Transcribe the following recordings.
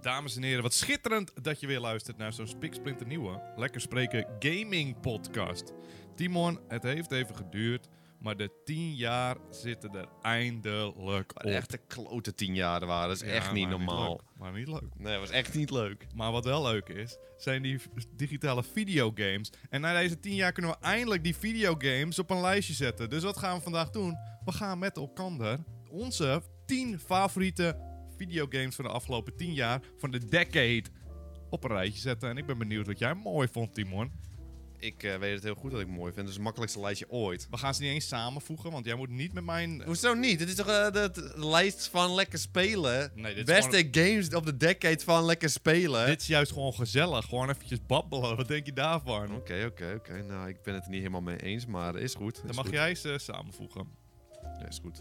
Dames en heren, wat schitterend dat je weer luistert naar zo'n spiksplinter nieuwe Lekker Spreken Gaming Podcast. Timon, het heeft even geduurd, maar de tien jaar zitten er eindelijk op. Maar echt de klote tien jaar waren. Dat is Ja, echt niet maar normaal. leuk, maar niet leuk. nee, dat was echt niet leuk. Maar wat wel leuk is, zijn die v- digitale videogames. En na deze tien jaar kunnen we eindelijk die videogames op een lijstje zetten. Dus wat gaan we vandaag doen? We gaan met elkaar onze 10 favoriete videogames van de afgelopen 10 jaar, van de decade, op een rijtje zetten. En ik ben benieuwd wat jij mooi vond, Timon. Ik eh, weet het heel goed dat ik mooi vind. Het is het makkelijkste lijstje ooit. We gaan ze niet eens samenvoegen, want jij moet niet met mijn... Hoezo niet? Dit is toch eh, de, de lijst van lekker spelen? Nee, dit is Beste games op de decade van lekker spelen. Dit is juist gewoon gezellig. Gewoon eventjes babbelen. Wat denk je daarvan? Oké, oké, oké. Nou, ik ben het er niet helemaal mee eens, maar is goed. Is Dan mag goed. jij ze samenvoegen. Ja, is goed.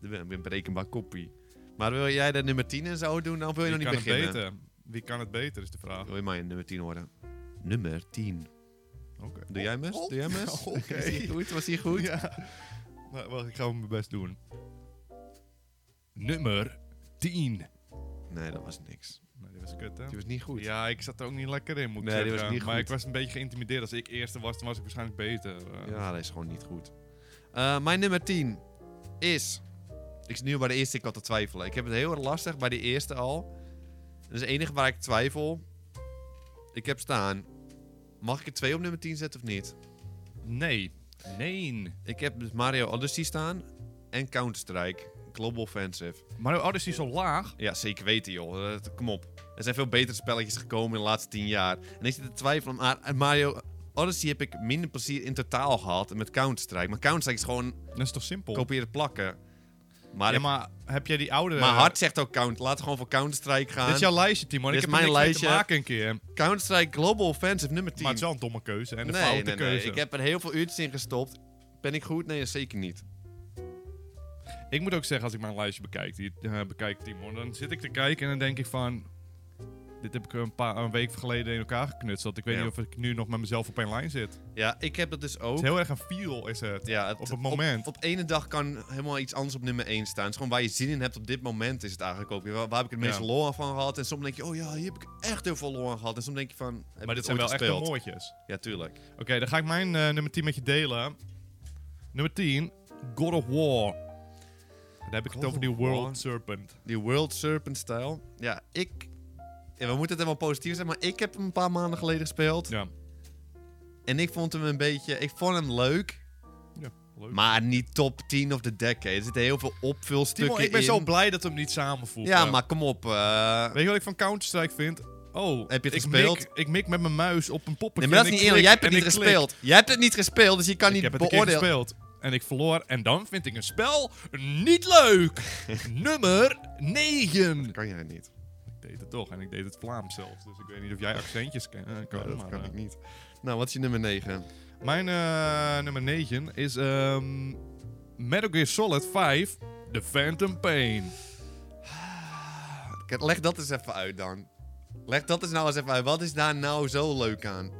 Ik ben ik ben een berekenbaar koppie. Maar wil jij de nummer 10 en zo doen? Dan wil je Wie nog kan niet het beginnen. beter? Wie kan het beter, is de vraag. Wil je mij een nummer 10 horen? Nummer 10. Oké. Doe jij mes? Doe jij mes? Oh, Oké. Is die goed? Was die goed? Ja. Nou, wacht, ik ga mijn best doen. Nummer 10. Nee, dat was niks. Nee, die was kut, hè? Die was niet goed. Ja, ik zat er ook niet lekker in, moet ik Nee, die zeggen. was niet maar goed. ik was een beetje geïntimideerd. Als ik eerste was, dan was ik waarschijnlijk beter. eh. Ja, dat is gewoon niet goed. Eh, mijn nummer 10 is. Ik zit nu bij de eerste ik had te twijfelen. Ik heb het heel erg lastig bij de eerste al. Dat is het enige waar ik twijfel. Ik heb staan. Mag ik er twee op nummer 10 zetten of niet? Nee. Nee. Ik heb dus Mario Odyssey staan en Counter-Strike. Global Offensive. Mario Odyssey oh, is zo laag. Ja, zeker weten joh. Eh, kom op. Er zijn veel betere spelletjes gekomen in de laatste 10 jaar. En ik zit te twijfelen. Maar aan Mario Odyssey heb ik minder plezier in totaal gehad met Counter-Strike. Maar Counter-Strike is gewoon Dat is toch simpel? kopiëren plakken. Maar, ja, maar heb jij die oude... mijn hart zegt ook count. Laat gewoon voor Counter-Strike gaan. Dit is jouw lijstje, Timon. Dit ik is heb er mijn niks mee te lijstje. maken een keer. Counter-Strike Global Offensive nummer 10. Maar het is wel een domme keuze. En een nee, foute nee, nee. keuze. Ik heb er heel veel uurtjes in gestopt. Ben ik goed? Nee, zeker niet. Ik moet ook zeggen, als ik mijn lijstje bekijk, die, eh, bekijk Timon, dan zit ik te kijken en dan denk ik van... Dit heb ik een, paar, een week geleden in elkaar geknutseld. Ik weet Ja. niet of ik nu nog met mezelf op één lijn zit. Het Ja, ik heb het dus ook. is heel erg een feel, is het. ja, op het moment. Op, ene dag kan helemaal iets anders op nummer 1 staan. Het is gewoon waar je zin in hebt op dit moment is het eigenlijk ook. weer. Waar, waar heb ik het meeste Ja. lol aan van gehad? En soms denk je, oh ja, hier heb ik echt heel veel lol aan gehad. En soms denk je van, heb maar ik dit zijn wel ooit echt gespeeld? de mooitjes. Ja, tuurlijk. Oké, dan ga ik mijn eh, nummer 10 met je delen. Nummer 10, God of War. Dan heb ik God het over die of War. World Serpent. Die World Serpent stijl. Ja, ik... Ja, we moeten het helemaal positief zijn, maar ik heb hem een paar maanden geleden gespeeld. Ja, En ik vond hem een beetje. Ik vond hem leuk. ja leuk. Maar niet top 10 of the decade. Er zitten heel veel opvulstukken Timon, ik ben in. zo blij dat we hem niet samenvoegen. Ja, maar kom op. eh. Weet je wat ik van Counter-Strike vind? Oh, Heb je het ik gespeeld? Mik, ik mik met mijn muis op een poppetje. Nee, maar dat is en niet ik eerlijk. klik Jij en hebt het niet ik klik. gespeeld. Jij hebt het niet gespeeld, dus je kan Ik niet heb het een keer beoordelen. gespeeld. En ik verloor. En dan vind ik een spel niet leuk. Nummer 9. Ik Kan jij niet? deed het toch. En ik deed het Vlaams zelfs. Dus ik weet niet of jij accentjes ken- eh, kan. dat maar, kan eh, ik niet. Nou, wat is je nummer 9? Mijn eh, nummer 9 is ehm Metal Gear Solid 5. The Phantom Pain. Kijk, Leg dat eens even uit dan. Leg dat eens nou eens even uit. Wat is daar nou zo leuk aan?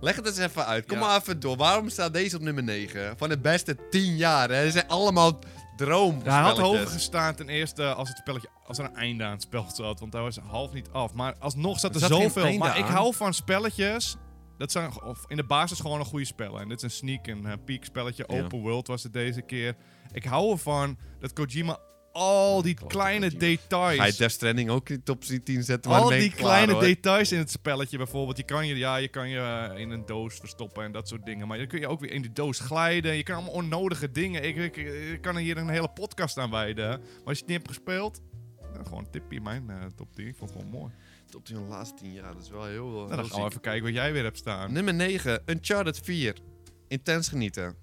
Leg het eens even uit. Kom Ja. maar even door. Waarom staat deze op nummer 9? Van de beste 10 jaar. Hè? Dit zijn allemaal droom. Ja, hij had hoger gestaan ten eerste als, het spelletje, als er een einde aan het spel zat. Want hij was half niet af. Maar alsnog zat er, Er zat geen zoveel. einde Maar ik aan. hou van spelletjes. Dat zijn g- of in de basis gewoon een goede spellen. En dit is een sneak, een eh, peek spelletje. Ja. Open world was het deze keer. Ik hou ervan dat Kojima al die klote kleine Kojima. Ga je details... Death Stranding ook in de top 10 zetten? Maar Al dan ben die ik klaar, kleine hoor. details in het spelletje bijvoorbeeld. Je kan je, ja, je, kan je eh, in een doos verstoppen en dat soort dingen. Maar dan kun je ook weer in die doos glijden. Je kan allemaal onnodige dingen. Ik, ik, ik kan er hier een hele podcast aan wijden. Maar als je het niet hebt gespeeld, nou, gewoon een tipje in mijn eh, top 10. Ik vond het gewoon mooi. Top 10 van de laatste 10 jaar. Dat is wel heel... Nou, dan gaan we even kijken wat jij weer hebt staan. Nummer 9. Uncharted 4. Intens genieten.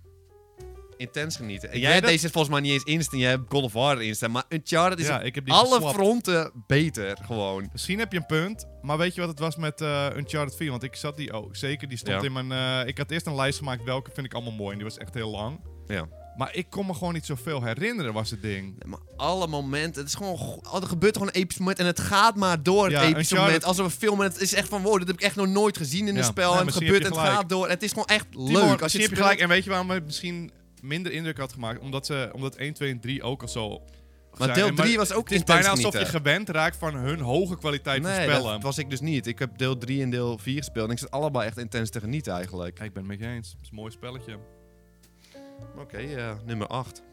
Intens genieten. En Ik jij weet hebt dat- deze volgens mij niet eens instaan. Jij hebt God of War erin staan. Maar Uncharted is Ja, op ik heb die alle geswapt. fronten beter gewoon. Misschien heb je een punt, maar weet je wat het was met eh, Uncharted 4? Want ik zat die ook. Zeker, die stond Ja. in mijn... eh, ik had eerst een lijst gemaakt welke vind ik allemaal mooi. En die was echt heel lang. Ja. Maar ik kon me gewoon niet zoveel herinneren, was het ding. Maar alle momenten, het is gewoon, go- oh, er gebeurt gewoon een episch moment en het gaat maar door, het Ja, epische Uncharted- moment. Alsof een film, en het is echt van, wow, dat heb ik echt nog nooit gezien in Ja. een spel. Nee, en het misschien gebeurt heb en je het gelijk. gaat door. Het is gewoon echt Timon, leuk. Als je misschien het heb je speelt- gelijk. En weet je waarom we misschien minder indruk had gemaakt? Omdat, ze, omdat 1, 2 en 3 ook al zo Maar zijn. deel En maar 3 was ook Het is intens bijna alsof je genieten. gewend raakt van hun hoge kwaliteit van Nee, spellen. dat was ik dus niet. Ik heb deel 3 en deel 4 gespeeld en ik zit allebei echt intens te genieten eigenlijk. Kijk, ik ben het met je eens. Het is een mooi spelletje. Oké, eh, nummer 8.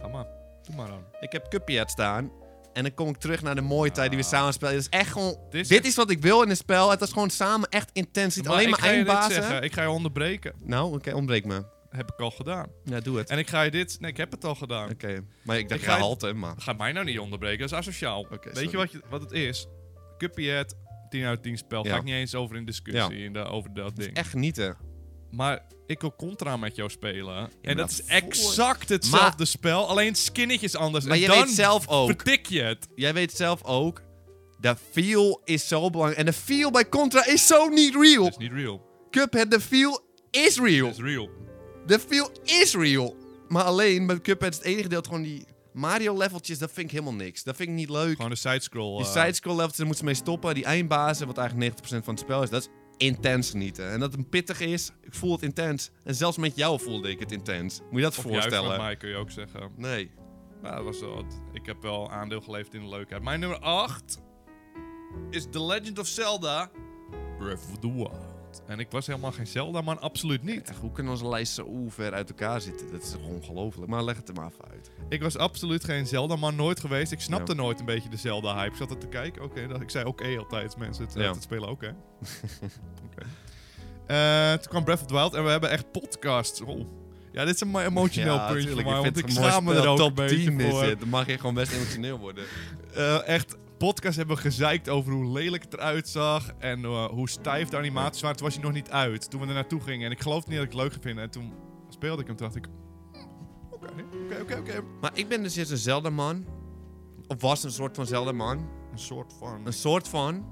Ga maar. Doe maar aan. Ik heb Cuphead staan. En dan kom ik terug naar de mooie tijd die we Ah. samen spelen. Dit is echt gewoon... Dit is Dit echt- is wat ik wil in een spel. Het is gewoon samen echt intens. Niet alleen ik maar ga je dit zeggen. eindbazen. Ik ga je onderbreken. Nou, oké, ontbreek me. Heb ik al gedaan. Ja, doe het. En ik ga je dit... Nee, ik heb het al gedaan. Oké. Maar ik Ik dacht, ik ga ga je- halten, maar... Ga mij nou niet onderbreken, dat is asociaal. Weet je sorry. wat, je wat het is? Cuphead, 10 uit 10 spel. Ga Ja. ik niet eens over in discussie in de, over dat ding. Echt genieten. Maar ik wil Contra met jou spelen. en dat dat is voel ik. exact hetzelfde Maar- spel, alleen het skinnetje is anders. Maar en je dan weet zelf ook... vertik je het. Jij weet zelf ook... De feel is zo belangrijk. En de feel bij Contra is zo niet real. Dat is niet real. Cuphead, de feel Dus- is real. Dat is real. De feel is real. Maar alleen met Cuphead is het enige deel gewoon die Mario-leveltjes, dat vind ik helemaal niks. Dat vind ik niet leuk. Gewoon een sidescroll. Die eh, sidescroll levels, daar moeten ze mee stoppen. Die eindbazen, wat eigenlijk 90% van het spel is, dat is intens genieten. En dat het pittig is, ik voel het intens. En zelfs met jou voelde ik het intens. Moet je dat of voorstellen? Juichen, maar kun je ook zeggen. Nee. Nou, dat was wel wat. Ik heb wel aandeel geleverd in de leukheid. Mijn nummer 8 is The Legend of Zelda Breath of the Wild. En ik was helemaal geen Zelda, man. Absoluut niet. Echt, hoe kunnen onze lijsten zo ver uit elkaar zitten? Dat is toch ongelooflijk. Maar leg het er maar even uit. Ik was absoluut geen Zelda, maar nooit geweest. Ik snapte Ja. nooit een beetje de Zelda-hype. Ik zat er te kijken. Oké, dat ik zei oké altijd. Mensen het, eh, Ja. het spelen ook, hè? Oké. Eh, toen kwam Breath of the Wild en we hebben echt podcasts. Oh. Ja, dit is nou een mo- emotioneel Ja, puntje voor tuurlijk. mij, want vind ik het een mooi schaam me spel. er ook een Top beetje 10 is voor. het. Dan mag je gewoon best emotioneel worden. Eh, echt podcasts hebben gezeikt over hoe lelijk het eruit zag en eh, hoe stijf de animaties waren. Toen was hij nog niet uit, toen we er naartoe gingen. En ik geloofde niet dat ik het leuk ging vinden. En toen speelde ik hem, toen dacht ik... "Hmm, Oké, oké, oké, oké. Maar ik ben dus eerst een Zelda-man. Of was een soort van Zelda-man. Een soort van... Een soort van.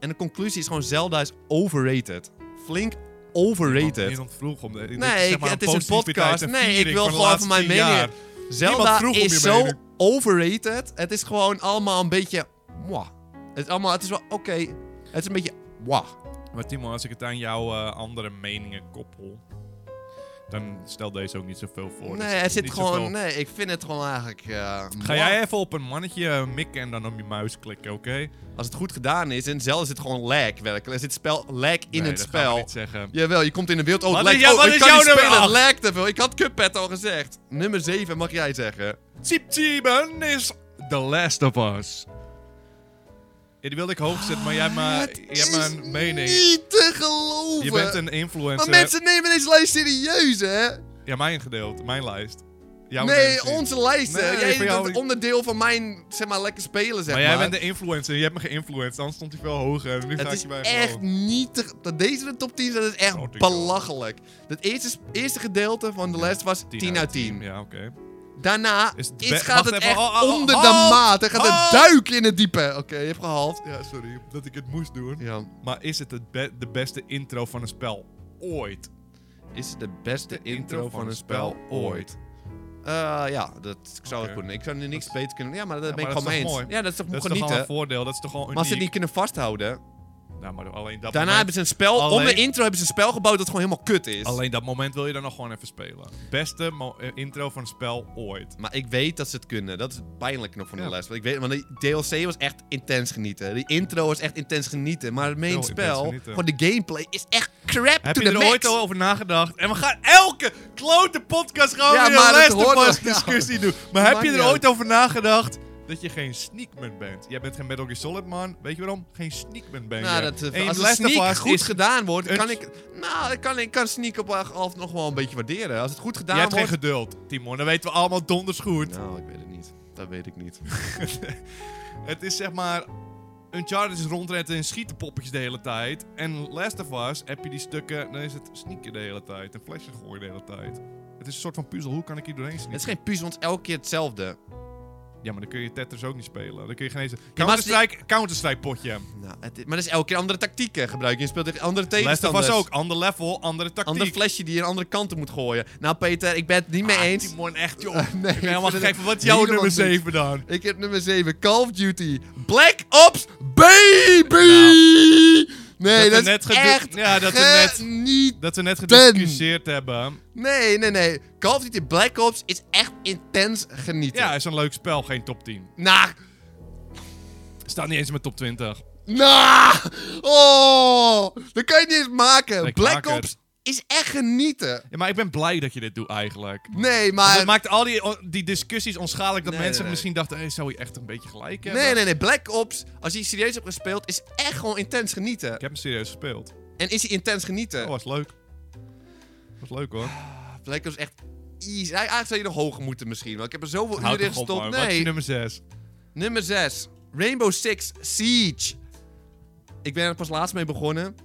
En de conclusie is gewoon Zelda is overrated. Flink overrated. Niemand vroeg om de, dit Nee, is zeg ik- maar het is een positiviteit podcast. en Nee, viering ik wil van de gewoon laatste even mijn tien mening. jaar. Zelda vroeg om je is zo mening. overrated. Het is gewoon allemaal een beetje... Mwah. Het is allemaal... Het is wel oké. Het is een beetje... Mwah. Maar Timo, als ik het aan jouw eh, andere meningen koppel, dan stel deze ook niet zoveel voor. nee, Dus het er is zit niet gewoon... zoveel- Nee, ik vind het gewoon eigenlijk... eh, Ga mwah. jij even op een mannetje eh, mikken en dan op je muis klikken, oké? Als het goed gedaan is, en zelfs is het gewoon lag werkelijk. Er zit spel, lag in Nee, het dat gaan we spel. niet zeggen. Jawel, je komt in de wereld. Oh, Wat het is lijkt, jou- oh, wat ik is kan jouw niet nummer spelen. Het acht? lijkt te veel. Ik had Cuphead al gezegd. Nummer 7 mag jij zeggen. Siep Siepen is The Last of Us. Ja, die wilde ik hoog zetten, maar jij hebt maar, Ah, Het jij hebt maar is een mening. niet te geloven. Je bent een maar influencer. mensen nemen deze lijst serieus, hè? Ja, mijn gedeelte, mijn lijst. Jouw nee, mensen niet. onze lijst. hè. Nee, jij voor bent jou- onderdeel van mijn, zeg maar, lekker spelen, zeg Maar maar. jij bent de influencer, je hebt me geïnfluenced, anders stond hij veel hoger. En nu ga Het ik is je bij echt niet te... Dat deze in de top 10 zijn, dat is echt Grote joh. belachelijk. Het eerste, eerste gedeelte van de lijst was 10, uit 10. Ja, oké. Daarna Is het is be- gaat wacht het even, echt oh, oh, oh, onder halt! de maat. Hij gaat Halt! het duiken in het diepe. Oké, je hebt gehaald. Ja, sorry dat ik het moest doen. Ja. Maar is het, het be- de beste intro van een spel ooit? Is het de beste intro van een spel ooit? Eh, ja, dat zou Oké. ik kunnen. Ik zou nu niks beter kunnen. Ja, maar dat Ja, ben maar ik dat gewoon is mee toch eens. mooi? Ja, dat is toch Dat is toch genieten. wel een voordeel, dat is toch gewoon maar als ze het niet uniek? kunnen vasthouden. Nou, maar alleen dat, Daarna moment, hebben ze een spel. Om Alleen- de intro hebben ze een spel gebouwd dat gewoon helemaal kut is. alleen dat moment wil je dan nog gewoon even spelen. Beste mo- eh, intro van een spel ooit. Maar ik weet dat ze het kunnen. Dat is het pijnlijke nog van Ja. de les. Want ik weet, want die DLC was echt intens genieten. Die intro was echt intens genieten. Maar het main Heel intens spel, genieten. gewoon de gameplay, is echt crap Heb to je the er max. ooit al over nagedacht? En we gaan elke klote podcast gewoon Ja, weer maar dat een Last hoort of toch Us nou? discussie doen. Maar heb Maakt je niet er uit. ooit over nagedacht dat je geen sneakman bent? Jij bent geen Metal Gear Solid man. Weet je waarom? Geen sneakman ben Nou, je. dat, eh, En als een Last of sneak Us goed is- gedaan wordt, een- kan ik, nou, ik kan, ik kan sneak op half nog wel een beetje waarderen. Als het goed Je gedaan hebt geen wordt... geduld, Timon. Dat weten we allemaal donders goed. nou, ik weet het niet. Dat weet ik niet. Het is zeg maar... Uncharted is rondrennen en schieten poppetjes de hele tijd. En Last of Us heb je die stukken... Dan is het sneaken de hele tijd. En flesjes gooien de hele tijd. Het is een soort van puzzel. Hoe kan ik hier doorheen het is sneaken? geen puzzel, want het is elke keer hetzelfde. Ja, maar dan kun je Tetris ook niet spelen. Dan kun je geen eens... maar het is- Counter-Strike, Counter-Strike potje. Nou, het is- maar dat is elke keer andere tactieken gebruiken. Je speelt tegen andere Last of tegenstanders. Us ook. Ander level, andere tactiek. Ander flesje die je een andere kant op moet gooien. Nou, Peter, ik ben het niet mee Ah, eens. Timon, echt joh. Nee, ik ben ik vind helemaal het gek. van, Wat is jouw helemaal nummer niet. 7 dan? Ik heb nummer 7, Call of Duty Black Ops Baby! Nou, Dat Nee, er dat, net is gedo- echt Ja, dat er ge- net- niet... Dat we net Ten. gediscussieerd hebben. Nee, nee, nee. Call of Duty Black Ops is echt intens genieten. Ja, is een leuk spel, geen top 10. Nou, Staat niet eens in mijn top 20. nou, oh, dat kan je niet eens maken. Nee, ik Black maak het. Ops is echt genieten. Ja, maar ik ben blij dat je dit doet eigenlijk. Nee, Want maar... het maakt al die, o- die discussies onschadelijk dat Nee, mensen nee, nee. misschien dachten, hey, zou je echt een beetje gelijk hebben? Nee, nee, nee. Black Ops, als je die serieus hebt gespeeld, is echt gewoon intens genieten. Ik heb hem serieus gespeeld. En is hij intens genieten. Dat was leuk. was leuk hoor. Black Ops is echt easy. Hij- Eigenlijk zou je nog hoger moeten misschien, want ik heb er zoveel Houd uren in toch op, gestopt. man. Wat is je Nee. nummer 6? Nummer 6. Rainbow Six Siege. Ik ben er pas laatst mee begonnen.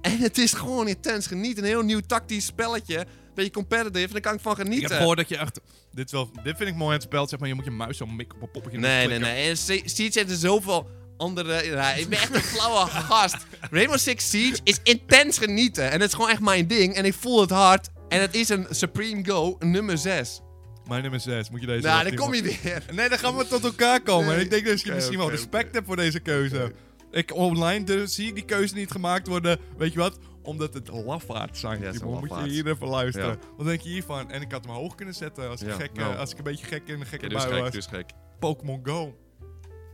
En het is gewoon intens genieten. Een heel nieuw tactisch spelletje. Beetje competitive. En daar kan ik van Ik heb genieten. gehoord dat je echt... Dit, is wel, dit vind ik mooi aan het spel. Zeg maar, je moet je muis zo mikken op een poppetje. nee, nee, klikken. nee. En Sie- Siege heeft er zoveel andere... Ja, ik ben echt een flauwe gast. Rainbow Six Siege is intens genieten. En het is gewoon echt mijn ding. En ik voel het hard. En het is een Supreme Go, een nummer 6. Mijn nummer 6. Moet je deze... Nou, nog daar doen, kom je man. weer. Nee, dan gaan we tot elkaar komen. Nee. Ik denk dat je Oké, misschien wel oké, respect hebt voor deze keuze. Ik online dus, zie ik die keuze niet gemaakt worden. Weet je wat? Omdat het lafaards zijn. Ja, het Die zijn moet je lafaards. hier even luisteren. Ja. Wat denk je hiervan? En ik had hem hoog kunnen zetten als ik, Ja, gek, eh, nou. als ik een beetje gek in de gekke Oké, dus bui gek, was. dus gek. Pokémon Go.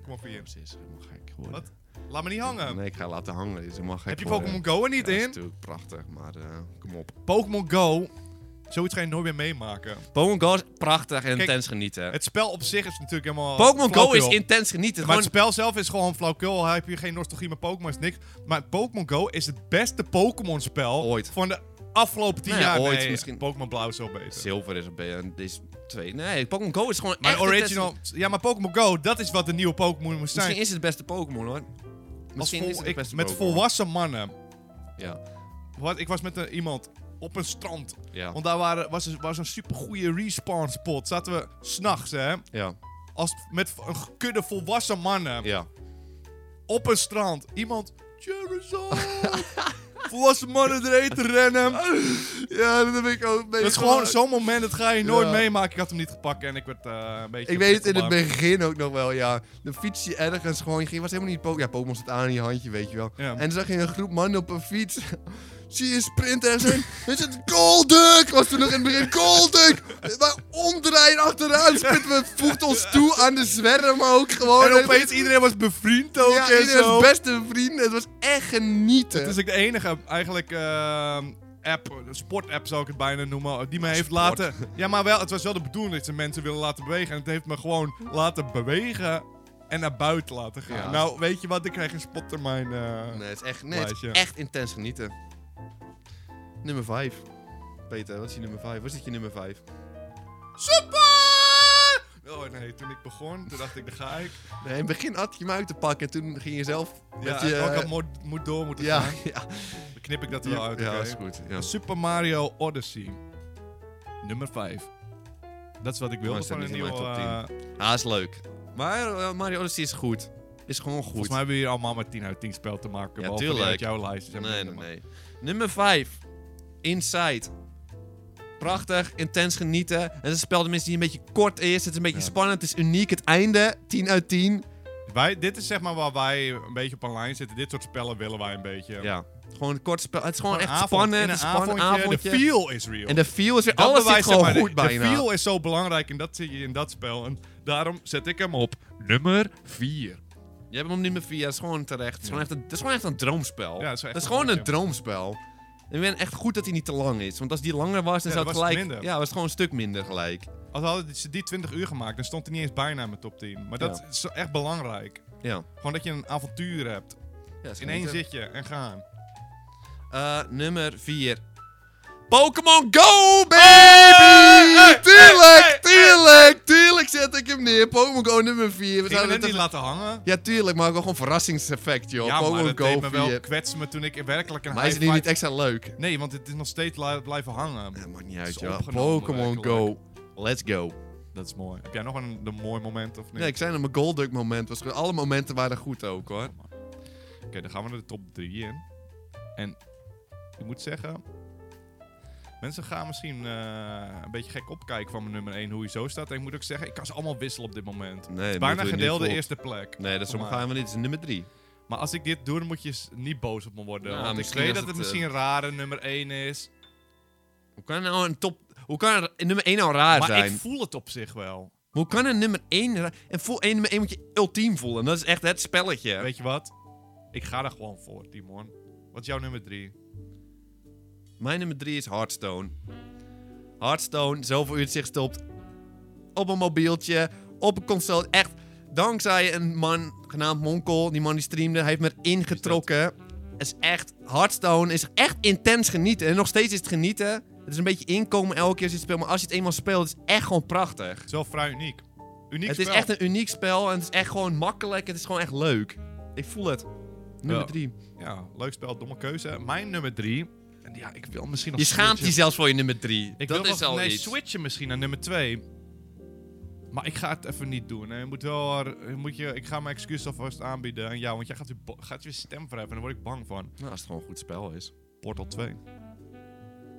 Kom op hier. Precies, helemaal gek geworden. Wat? Laat me niet hangen. Nee, ik ga laten hangen. Dit is helemaal gek Heb je geworden. Pokémon Go er niet Ja, in? Dat is natuurlijk prachtig, maar eh, kom op. Pokémon Go, zoiets ga je nooit meer meemaken. Pokémon Go is prachtig en intens intens genieten. Het spel op zich is natuurlijk helemaal. Pokémon Go is flauwkul. intens genieten. Maar Gewoon, het spel zelf is gewoon flauwkul. Al heb je geen nostalgie met Pokémon, is niks. Maar Pokémon Go is het beste Pokémon-spel Ooit. van de afgelopen tien Nou ja, jaar. ooit nee, misschien. Pokémon Blauw is wel beter. Zilver is een beetje... Is twee. Nee, Pokémon Go is gewoon Maar echt original. intens- Ja, maar Pokémon Go, dat is wat de nieuwe Pokémon moest zijn. Misschien is het beste Pokémon, hoor. Als Misschien vol- is het ik- het beste met Pokémon. volwassen mannen. Ja. Wat, ik was met eh, iemand op een strand. Ja. Want daar waren, was, een- was een supergoeie respawn spot. Zaten we s'nachts, hè? Ja. Als, met v- een kudde volwassen mannen. Ja. op een strand iemand Charizard. Volwassen mannen erheen te rennen. Ja, dat heb ik ook mee. Dat is gewoon zo'n moment, dat ga je nooit Ja. meemaken. Ik had hem niet gepakt en ik werd eh, een beetje... Ik weet het in het opgewarmd. begin ook nog wel, ja. De fiets die ergens gewoon ging. was helemaal niet Pokémon. Ja, Pokémon zit aan in je handje, weet je wel. Ja. En dan zag je een groep mannen op een fiets. Zie je sprinten en zo. Is het Golduck? Was toen nog in het begin Golduck! Wij omdraaien achteruit sprinten. We voegt ons toe aan de zwerm ook gewoon. En opeens iedereen was bevriend ook Ja, en iedereen zo. was beste vrienden. Het was echt genieten. Het is ook de enige eigenlijk ehm, app, sportapp zou ik het bijna noemen, die me heeft Sport. laten... Ja, maar wel, het was wel de bedoeling dat ze mensen willen laten bewegen. En het heeft me gewoon laten bewegen en naar buiten laten gaan. Ja. Nou, weet je wat, ik krijg een spot in mijn... eh, Nee, het is echt, nee, het is Plaatje. echt intens genieten. Nummer 5. Peter, wat is je nummer 5? Wat is dit je nummer 5? Super! Oh nee, toen ik begon, toen dacht ik, daar ga ik. Nee, in het begin had je hem uit te pakken en toen ging je zelf Ja, met je, je... eh, ik had moet, moet door moeten ja, gaan. ja. Dan knip ik dat er wel uit, Ja, oké? is goed. Ja. Super Mario Odyssey. Nummer 5. Dat is wat ik Maar wilde is dat van een niet in nieuwe... mijn top eh, 10? Ah, is leuk. Maar eh, Mario Odyssey is goed. Is gewoon goed. volgens mij hebben we hier allemaal met 10 uit 10 spel te maken. Ja, behalve die tuurlijk. uit jouw lijst. Dus Nee, hebben we nee, minder, nee. Nummer 5. Inside. Prachtig, intens genieten. Het is een spel tenminste die een beetje kort is. Het is een beetje Ja. spannend. Het is uniek. Het einde, 10 uit 10. maar- Wij, dit is zeg maar waar wij een beetje op een lijn zitten. Dit soort spellen willen wij een beetje. Ja. Gewoon een kort spel. Het is gewoon Een echt avond, spannend. in Het Een is spannend avondje, avondje. De feel is real. En de feel is weer... Dat alles zit bewijst, gewoon zeg maar, goed de, bijna. De feel is zo belangrijk en dat zie je in dat spel. En daarom zet ik hem op nummer 4. Je hebt hem op nummer 4, dat is gewoon terecht. Het is, gewoon echt een, het is gewoon echt een droomspel. Ja, het dat is is, echt een gewoon goed, een ja. droomspel. En ik ben echt goed dat hij niet te lang is. Want als die langer was, dan Ja, zou dan het was het gelijk... minder. Ja, was het gewoon een stuk minder gelijk. Als hadden ze die 20 uur gemaakt, dan stond hij niet eens bijna in mijn top 10. Maar dat Ja. is echt belangrijk. Ja. Gewoon dat je een avontuur hebt. ja is In één genieten. zitje en gaan. Eh, nummer 4. Pokémon Go, baby! hey, hey, Tuurlijk, hey, tuurlijk, tuurlijk zet ik hem neer. Pokémon Go nummer 4. We Ik heb zouden het het niet laten hangen. Ja, tuurlijk, maar ook wel gewoon verrassingseffect, joh. Ja, maar Pokémon dat deed Go me 4. wel kwetsen me toen ik werkelijk een Maar is het high nu niet five- extra leuk? Nee, want het is nog steeds li- blijven hangen. Ja, maakt niet Het uit, is joh. opgenomen, Pokémon Go. werkelijk. Let's go. Dat is mooi. Heb jij nog een, een mooi moment of niet? Nee, ik zei dat mijn Golduck moment was goed. Alle momenten waren goed ook, hoor. Oké, dan gaan we naar de top 3 in. En ik moet zeggen, mensen gaan misschien eh, een beetje gek opkijken van mijn nummer 1 hoe je zo staat. En ik moet ook zeggen, ik kan ze allemaal wisselen op dit moment. Nee, Bijna gedeelde eerste Oh, plek. Nee, dat Voor sommige gaan we niet. Dat is nummer drie. mij. Maar als ik dit doe, dan moet je s- niet boos op me worden. Ja, want ik misschien weet is dat het, het, eh, misschien rare nummer 1 is. Hoe kan nou een top... Hoe kan er nummer 1 nou raar Maar zijn? ik voel het op zich wel. Maar Hoe kan een nummer 1 raar... En voor één nummer 1 moet je ultiem voelen. En dat is echt het spelletje. Weet je wat? Ik ga er gewoon voor, Timon. Wat is jouw nummer 3? Mijn nummer 3 is Hearthstone. Hearthstone, zoveel uurtjes gestopt. Op een mobieltje, op een console. Echt, dankzij een man genaamd Monkel. Die man die streamde, hij heeft me erin getrokken. Het is echt, Hearthstone is echt intens genieten. En nog steeds is het genieten. Het is een beetje inkomen elke keer als je het speelt. Maar als je het eenmaal speelt, is het echt gewoon prachtig. Het is wel vrij uniek. Uniek het is spel. echt een uniek spel. En het is echt gewoon makkelijk. Het is gewoon echt leuk. Ik voel het. Nummer Ja. 3. Ja, leuk spel, domme keuze. Mijn nummer 3. Ja, ik wil misschien nog Je schaamt je switchen. zelfs voor je nummer 3. Ik Dat wil is nog, al nee, iets. switchen misschien naar nummer 2. Maar ik ga het even niet doen. Hè. Je moet wel, eh, je moet je, ik ga mijn excuus alvast aanbieden aan jou. Want jij gaat weer, bo- gaat weer stem verheffen. Daar word ik bang van. Nou, als het gewoon een goed spel is. Portal 2. Ja,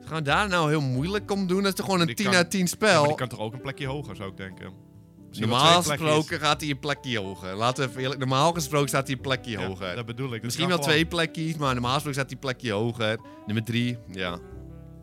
Gaan we daar nou heel moeilijk om doen? Dat is toch gewoon Die een 10 kan- uit 10 maar spel? die kan toch ook een plekje hoger, zou ik denken. Misschien wel normaal twee plekjes. gesproken gaat hij een plekje hoger. Laten we even eerlijk... Normaal gesproken staat hij een plekje Ja, hoger. Dat bedoel ik. Dat Misschien kan wel gewoon. twee plekjes, maar normaal gesproken staat hij een plekje hoger. Nummer 3, ja.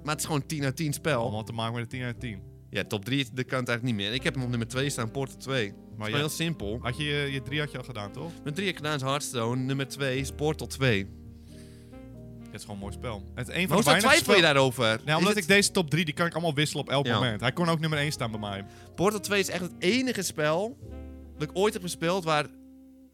Maar het is gewoon 10 uit 10 spel. Allemaal te maken met de 10 uit 10. Ja, top 3 kan het eigenlijk niet meer. Ik heb hem op nummer 2 staan, Portal 2. Het is Maar gewoon ja, heel simpel. had je, je je drie had je al gedaan, toch? Nummer 3 heb ik gedaan is Hearthstone. Nummer 2 is Portal 2. Het is gewoon een mooi spel. Het is een van Waarom de zou- weinige twijfel je spel- daarover? Nee, Is omdat het- ik deze top 3, die kan ik allemaal wisselen op elk Ja. moment. Hij kon ook nummer 1 staan bij mij. Portal 2 is echt het enige spel dat ik ooit heb gespeeld waar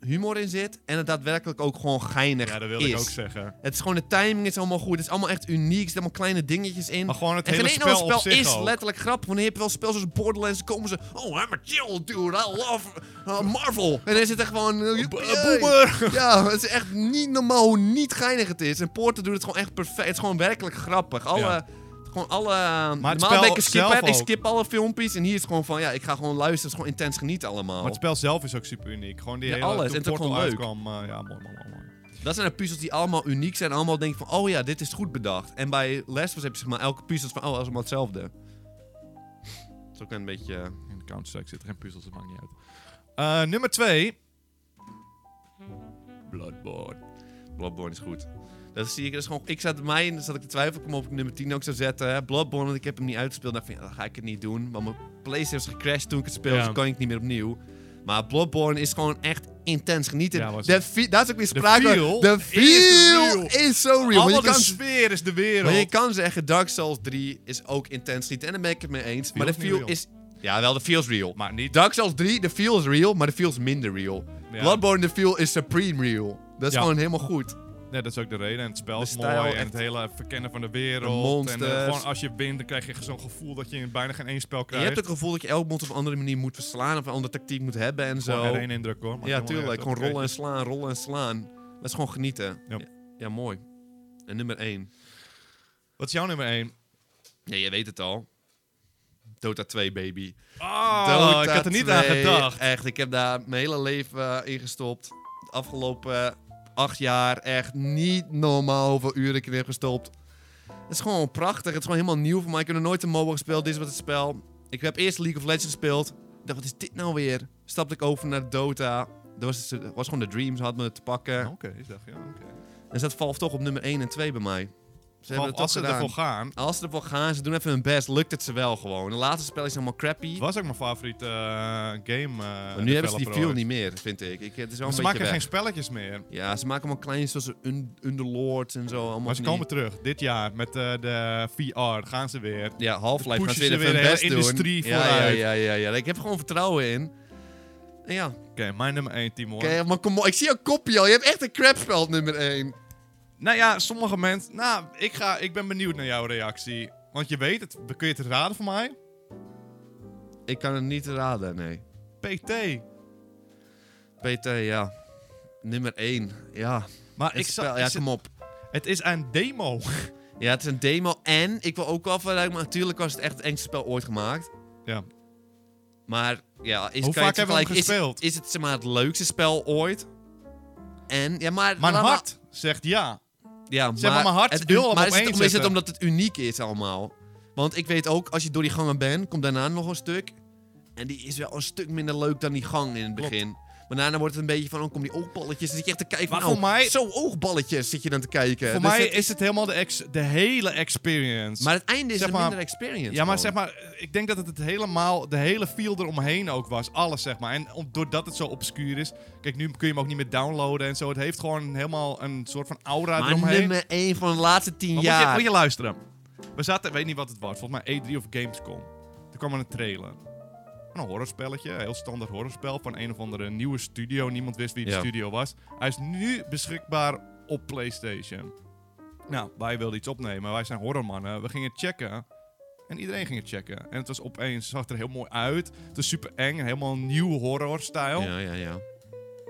humor in zit en het daadwerkelijk ook gewoon geinig Ja, dat wilde is. ik ook zeggen. Het is gewoon de timing is allemaal goed, het is allemaal echt uniek, er zitten allemaal kleine dingetjes in. Maar gewoon het en geen hele enkel spel, spel op zich is ook. letterlijk grappig. Wanneer heb je wel spel zoals Borderlands, dan komen ze... Oh, I'm a chill dude, I love uh, Marvel. En dan zit er gewoon... eh, B- yippee. Boomer! Ja, het is echt niet normaal hoe niet geinig het is. En Portal doet het gewoon echt perfect. Het is gewoon werkelijk grappig. Alle, Ja. gewoon alle... normaal het spel ben ik een skipper, zelf ook. ik skip alle filmpjes. En hier is het gewoon van, ja, ik ga gewoon luisteren. Het is gewoon intens genieten allemaal. Maar het spel zelf is ook super uniek. Gewoon die Ja, hele... alles. toen En het is ook Portal gewoon leuk. uitkwam, eh, ja, mooi, mooi, mooi, mooi. Dat zijn de puzzels die allemaal uniek zijn. Allemaal denk je van, oh ja, dit is goed bedacht. En bij Last of Us heb je zeg maar elke puzzel is van, oh, dat is allemaal hetzelfde. Dat is ook een beetje... eh, In Counter-Strike zit er geen puzzels, dat maakt niet uit. Eh, nummer 2. Bloodborne. Bloodborne is goed. Dat zie ik, dat is gewoon, ik zat mij, in, zat ik te twijfelen om op ik nummer 10 ook zou zetten. hè. Bloodborne, want ik heb hem niet uitgespeeld. Dacht van, ja, dan ga ik het niet doen. Want mijn PlayStation is gecrashed toen ik het speelde, Ja. dus kan ik niet meer opnieuw. Maar Bloodborne is gewoon echt intens genieten. Ja, was- de fi- daar is ook weer sprake van. feel De is feel real. is so real. Want je Allemaal de kan, sfeer is de wereld. maar je kan zeggen, Dark Souls 3 is ook intens genieten. En daar ben ik het mee eens. maar de Feel is niet feel real. is... Ja, wel, de feel is real. Maar niet... Dark Souls 3, de feel is real, maar de feel is minder real. Ja. Bloodborne, de feel is supreme real. Dat is Ja. gewoon helemaal goed. Nee, dat is ook de reden. En het spel De is stijl, mooi. En echt. het hele verkennen van de wereld. De monsters. En eh, gewoon als je wint, dan krijg je zo'n gevoel dat je in bijna geen één spel Je krijgt. hebt het gevoel dat je elk monster op een andere manier moet verslaan of een andere tactiek moet hebben en Gewoon zo. weer één indruk hoor. Maar Ja, ik wil tuurlijk. echt Gewoon rollen en opkijken. slaan, rollen en slaan. Dat is gewoon genieten. Ja. Ja, ja, mooi. En nummer 1. Wat is jouw nummer 1? Ja, je weet het al. Dota 2, baby. Ah, Dota ik had er niet aan 2, gedacht. Echt, ik heb daar mijn hele leven eh, in gestopt. De afgelopen eh, acht jaar echt niet normaal hoeveel uren ik erin heb gestopt. Het is gewoon prachtig. Het is gewoon helemaal nieuw voor mij. Ik heb nog nooit een MOBA gespeeld. Dit is wat het spel. Ik heb eerst League of Legends gespeeld. Ik dacht, wat is dit nou weer? Stapte ik over naar Dota. Dat was, het- was gewoon de Dreams, had me te pakken. Oké, is dat ja, oké. En zat Valve toch op nummer 1 en 2 bij mij. Ze hebben Want het toch Als ze gedaan. ervoor gaan, Als ze ervoor gaan, ze doen even hun best. Lukt het ze wel gewoon. De laatste spel is allemaal crappy. Het was ook mijn favoriete eh, game. eh, Maar nu hebben ze die developer feel ooit. niet meer, vind ik. ik het is wel Ze maken een beetje weg. geen spelletjes meer. Ja, ze maken allemaal klein zoals un Underlords en zo. Allemaal Maar ze van komen die- terug. Dit jaar met eh, de VR gaan ze weer. Ja, Half-Life gaan pushen ze weer ze even weer hun de best hele doen. industrie ja, ja, vooruit. ja, ja, ja. Ik heb er gewoon vertrouwen in. En ja, Oké, mijn nummer 1, Timon. oké, maar kom op. Ik zie jouw kopje al. Je hebt echt een crapspel op nummer 1. Nou ja, sommige mensen... Nou, ik, ga, ik ben benieuwd naar jouw reactie. Want je weet het. Kun je het raden voor mij? Ik kan het niet raden, nee. PT. PT, ja. Nummer 1. Ja, Maar het ik spel. zal, ja, is het, kom op. het is een demo. Ja, het is een demo en ik wil ook wel verduidelijken, maar natuurlijk was het echt het engste spel ooit gemaakt. ja. Maar ja, is, Hoe kan je vaak hebben we hem vergelijken- is het- gespeeld? Is, het zeg maar het leukste spel ooit? En ja, maar Mijn laat maar- hart zegt ja. Ja, Zeg maar, mijn hart het, wil un- hem maar op is het, één om- is het zetten. omdat het uniek is allemaal? Want ik weet ook, als je door die gangen bent, komt daarna nog een stuk. En die is wel een stuk minder leuk dan die gang in het Klopt. begin. Maar daarna wordt het een beetje van, oh, kom die oogballetjes. Dan zit je echt te kijken Maar van, oh, voor mij- zo oogballetjes zit je dan te kijken. Voor Dus mij het- is het helemaal de, ex, de hele experience. Maar het einde is zeg een maar- minder experience. ja, maar gewoon. zeg maar, ik denk dat het, het helemaal, de hele field eromheen ook was. Alles, zeg maar. En om- doordat het zo obscuur is. Kijk, nu kun je hem ook niet meer downloaden en zo. Het heeft gewoon helemaal een soort van aura Maar eromheen. nummer 1 van de laatste 10 Maar moet, je, jaar. moet je luisteren. We zaten, ik weet niet wat het was, volgens mij E3 of Gamescom. Toen kwam er een trailer. Een horrorspelletje, een heel standaard horrorspel van een of andere nieuwe studio. Niemand wist wie de Ja. studio was. Hij is nu beschikbaar op PlayStation. Nou, wij wilden iets opnemen. Wij zijn horrormannen. We gingen checken. En iedereen ging het checken. En het was opeens, zag het er heel mooi uit. Het was super eng, helemaal nieuw horrorstijl. Ja, ja, ja.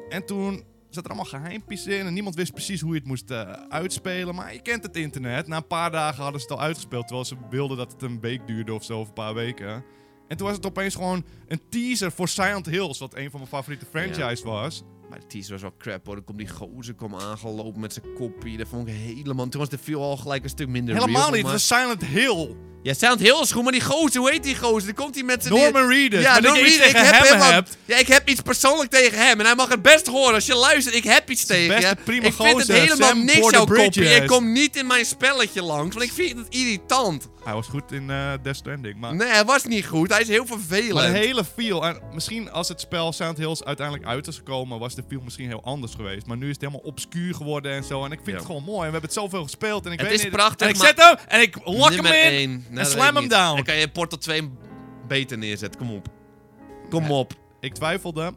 En toen zat er allemaal geheimpjes in en niemand wist precies hoe je het moest eh, uitspelen. Maar je kent het internet. Na een paar dagen hadden ze het al uitgespeeld, terwijl ze wilden dat het een week duurde of zo, of een paar weken. En toen was het opeens gewoon een teaser voor Silent Hills, wat een van mijn favoriete franchise was. Maar de teaser was wel crap hoor. Dan komt die gozer kwam aangelopen met zijn kopie. Dat vond ik helemaal... Toen was de feel al gelijk een stuk minder real, Helemaal niet, het maar- was Silent Hill. Ja, Silent heel schoon, maar die gozer, hoe heet die gozer? Dan komt hij met zijn... Norman Reedus. Ja, Maar dat Norman je iets Reedus, ik tegen heb hem hem aan- hebt. Ja, ik heb iets persoonlijk tegen hem. En hij mag het best horen. Als je luistert, ik heb iets tegen beste je. prima ik vind gozer, het helemaal Sam niks, Porter jouw kopie. Bridges. En kom niet in mijn spelletje langs, want ik vind het irritant. Hij was goed in eh Death Stranding, maar... Nee, hij was niet goed. Hij is heel vervelend. Maar de hele feel, en misschien als het spel Silent Hills uiteindelijk uit is gekomen, was de feel misschien heel anders geweest. Maar nu is het helemaal obscuur geworden en zo. En ik vind Ja. het gewoon mooi. En we hebben het zoveel gespeeld. En ik Het weet is niet, prachtig, En ik maar- zet hem en ik lock hem Nummer in één. Nou, en dat weet ik slam hem niet. down. Dan kan je Portal 2 beter neerzetten. Kom op. Kom op. Ik twijfelde.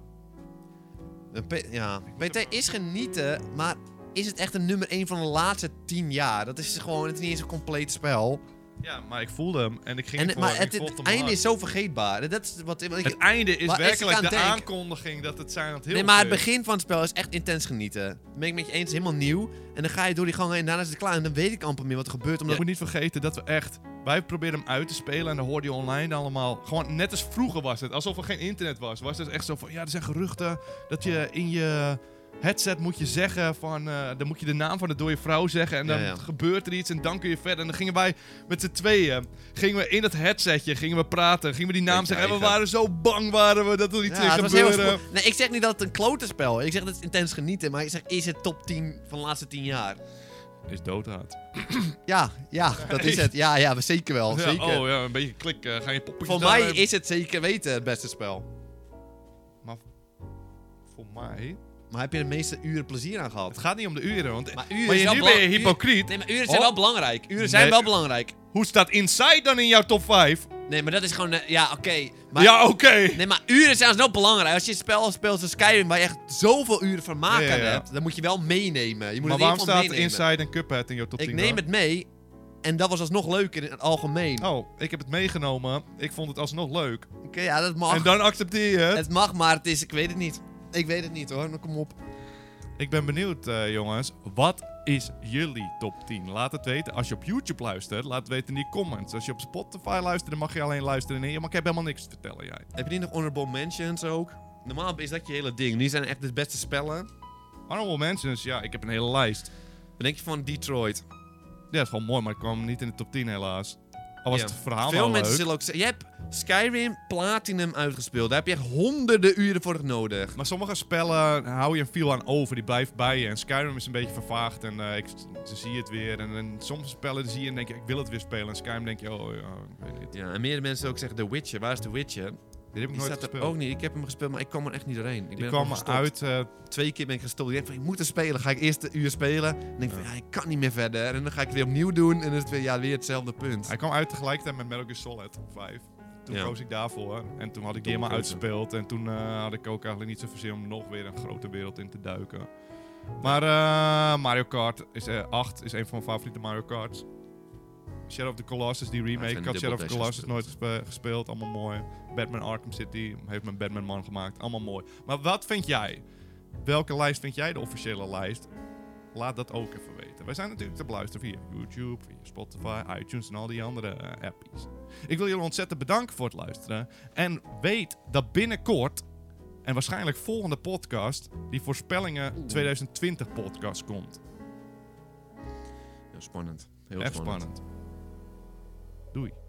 Een P- Ja. PT is genieten, maar is het echt een nummer 1 van de lalaatste 10 jaar? Dat is gewoon, het is niet eens een compleet spel. Ja, maar ik voelde hem en ik ging En, ervoor maar en het, ik het volgde hem einde hard. is zo vergeetbaar. Dat is wat, want ik- Het einde is Maar als ik werkelijk aan de denk- aankondiging dat het Silent Hills nee, maar het is. begin van het spel is echt intens genieten. Dat ben ik met je eens, helemaal nieuw. En dan ga je door die gang heen, daarna is het klaar. En dan weet ik amper meer wat er gebeurt. Je Omdat moet niet vergeten dat we echt... Wij probeerden hem uit te spelen en dan hoorde je online allemaal... Gewoon net als vroeger was het. Alsof er geen internet was. Was het echt zo van... Ja, er zijn geruchten dat je in je headset moet je zeggen van... eh, dan moet je de naam van de dode vrouw zeggen en dan Ja, ja. gebeurt er iets en dan kun je verder. En dan gingen wij met z'n tweeën... Gingen we in dat headsetje, gingen we praten, gingen we die naam Beetje zeggen. En we eigen. waren zo bang waren we dat er iets Ja, ging het was heel gebeuren. spo- Nee, ik zeg niet dat het een klote spel is. Ik zeg dat het intens genieten. Maar ik zeg, is het top 10 van de laatste 10 jaar? Is doodhaat. Ja, ja, dat is het. Ja, ja, zeker wel. Ja, zeker. oh ja, een beetje klik. eh, ga je poppetjes Voor daar mij hebben? is het zeker weten het beste spel. Maar voor mij... Maar heb je de meeste uren plezier aan Het gehad? gaat niet om de uren, want... Maar uren maar je- zijn nu wel ben je belang- hypocriet. Nee, maar uren zijn Oh. wel belangrijk. Uren zijn Nee. wel belangrijk. Hoe staat Inside dan in jouw top 5? Nee, maar dat is gewoon... eh, ja, oké. Maar- ja, oké. Nee, maar uren zijn alsnog belangrijk. Als je een spel speelt als Skyrim waar je echt zoveel uren van maken Ja, ja, ja. hebt, dan moet je wel meenemen. Je moet Maar het in ieder waarom geval staat meenemen. Inside en Cuphead in jouw top 10? Ik neem dan? het mee en dat was alsnog leuk in het algemeen. Oh, ik heb het meegenomen. Ik vond het alsnog leuk. Oké, ja, dat mag. En dan accepteer je het. Het mag, maar het is... Ik weet het niet. Ik weet het niet hoor, maar kom op. Ik ben benieuwd, eh, jongens. Wat is jullie top 10? Laat het weten. Als je op YouTube luistert, laat het weten in die comments. Als je op Spotify luistert, dan mag je alleen luisteren. Nee, maar ik heb helemaal niks te vertellen, jij. Heb je niet nog honorable mentions ook? Normaal is dat je hele ding. Nu zijn echt de beste spellen. Honorable mentions, ja, ik heb een hele lijst. Dan denk je van Detroit. Ja, is gewoon mooi, maar ik kwam niet in de top 10 helaas. Al was Ja. het verhaal Veel wel mensen leuk. zullen ook zeggen... Je hebt Skyrim Platinum uitgespeeld. Daar heb je echt honderden uren voor nodig. Maar sommige spellen hou je een feel aan over, die blijft bij je. En Skyrim is een beetje vervaagd en eh, ik ze zie het weer. En, en sommige spellen zie je en denk je, ik wil het weer spelen. En Skyrim denk je, oh ja, ik weet niet. Ja, en meerdere mensen ook zeggen The Witcher. Waar is The Witcher? Dit heb ik Die nooit staat er gespeeld. ook niet. Ik heb hem gespeeld, maar ik kwam er echt niet doorheen. Ik ben Die gewoon kwam gestopt. uit, eh, Twee keer ben ik gestopt. Ik denk van, ik moet er spelen. Ga ik eerst een uur spelen. En denk van, ja, ik kan niet meer verder. En dan ga ik het weer opnieuw doen. En dan is het weer, ja, weer hetzelfde punt. hij kwam uit tegelijkertijd met Metal Gear Solid 5. Toen Ja. koos ik daarvoor. En toen had ik die helemaal Domme keuze. uitgespeeld. En toen eh, had ik ook eigenlijk niet zoveel zin om nog weer een grote wereld in te duiken. Maar eh, Mario Kart is, eh, 8 is een van mijn favoriete Mario Karts. Shadow of the Colossus, die Ah, ik remake. Ik ben had Shadow of Double the Dash Colossus nooit gespe- gespeeld. Allemaal mooi. Batman Arkham City heeft mijn Batman man gemaakt. Allemaal mooi. Maar wat vind jij? Welke lijst vind jij de officiële lijst? Laat dat ook even weten. Wij zijn natuurlijk te beluisteren via YouTube, via Spotify, iTunes en al die andere eh, appies. Ik wil jullie ontzettend bedanken voor het luisteren. En weet dat binnenkort, en waarschijnlijk volgende podcast, die voorspellingen 2020 podcast komt. Heel spannend. Heel Echt spannend. Doei.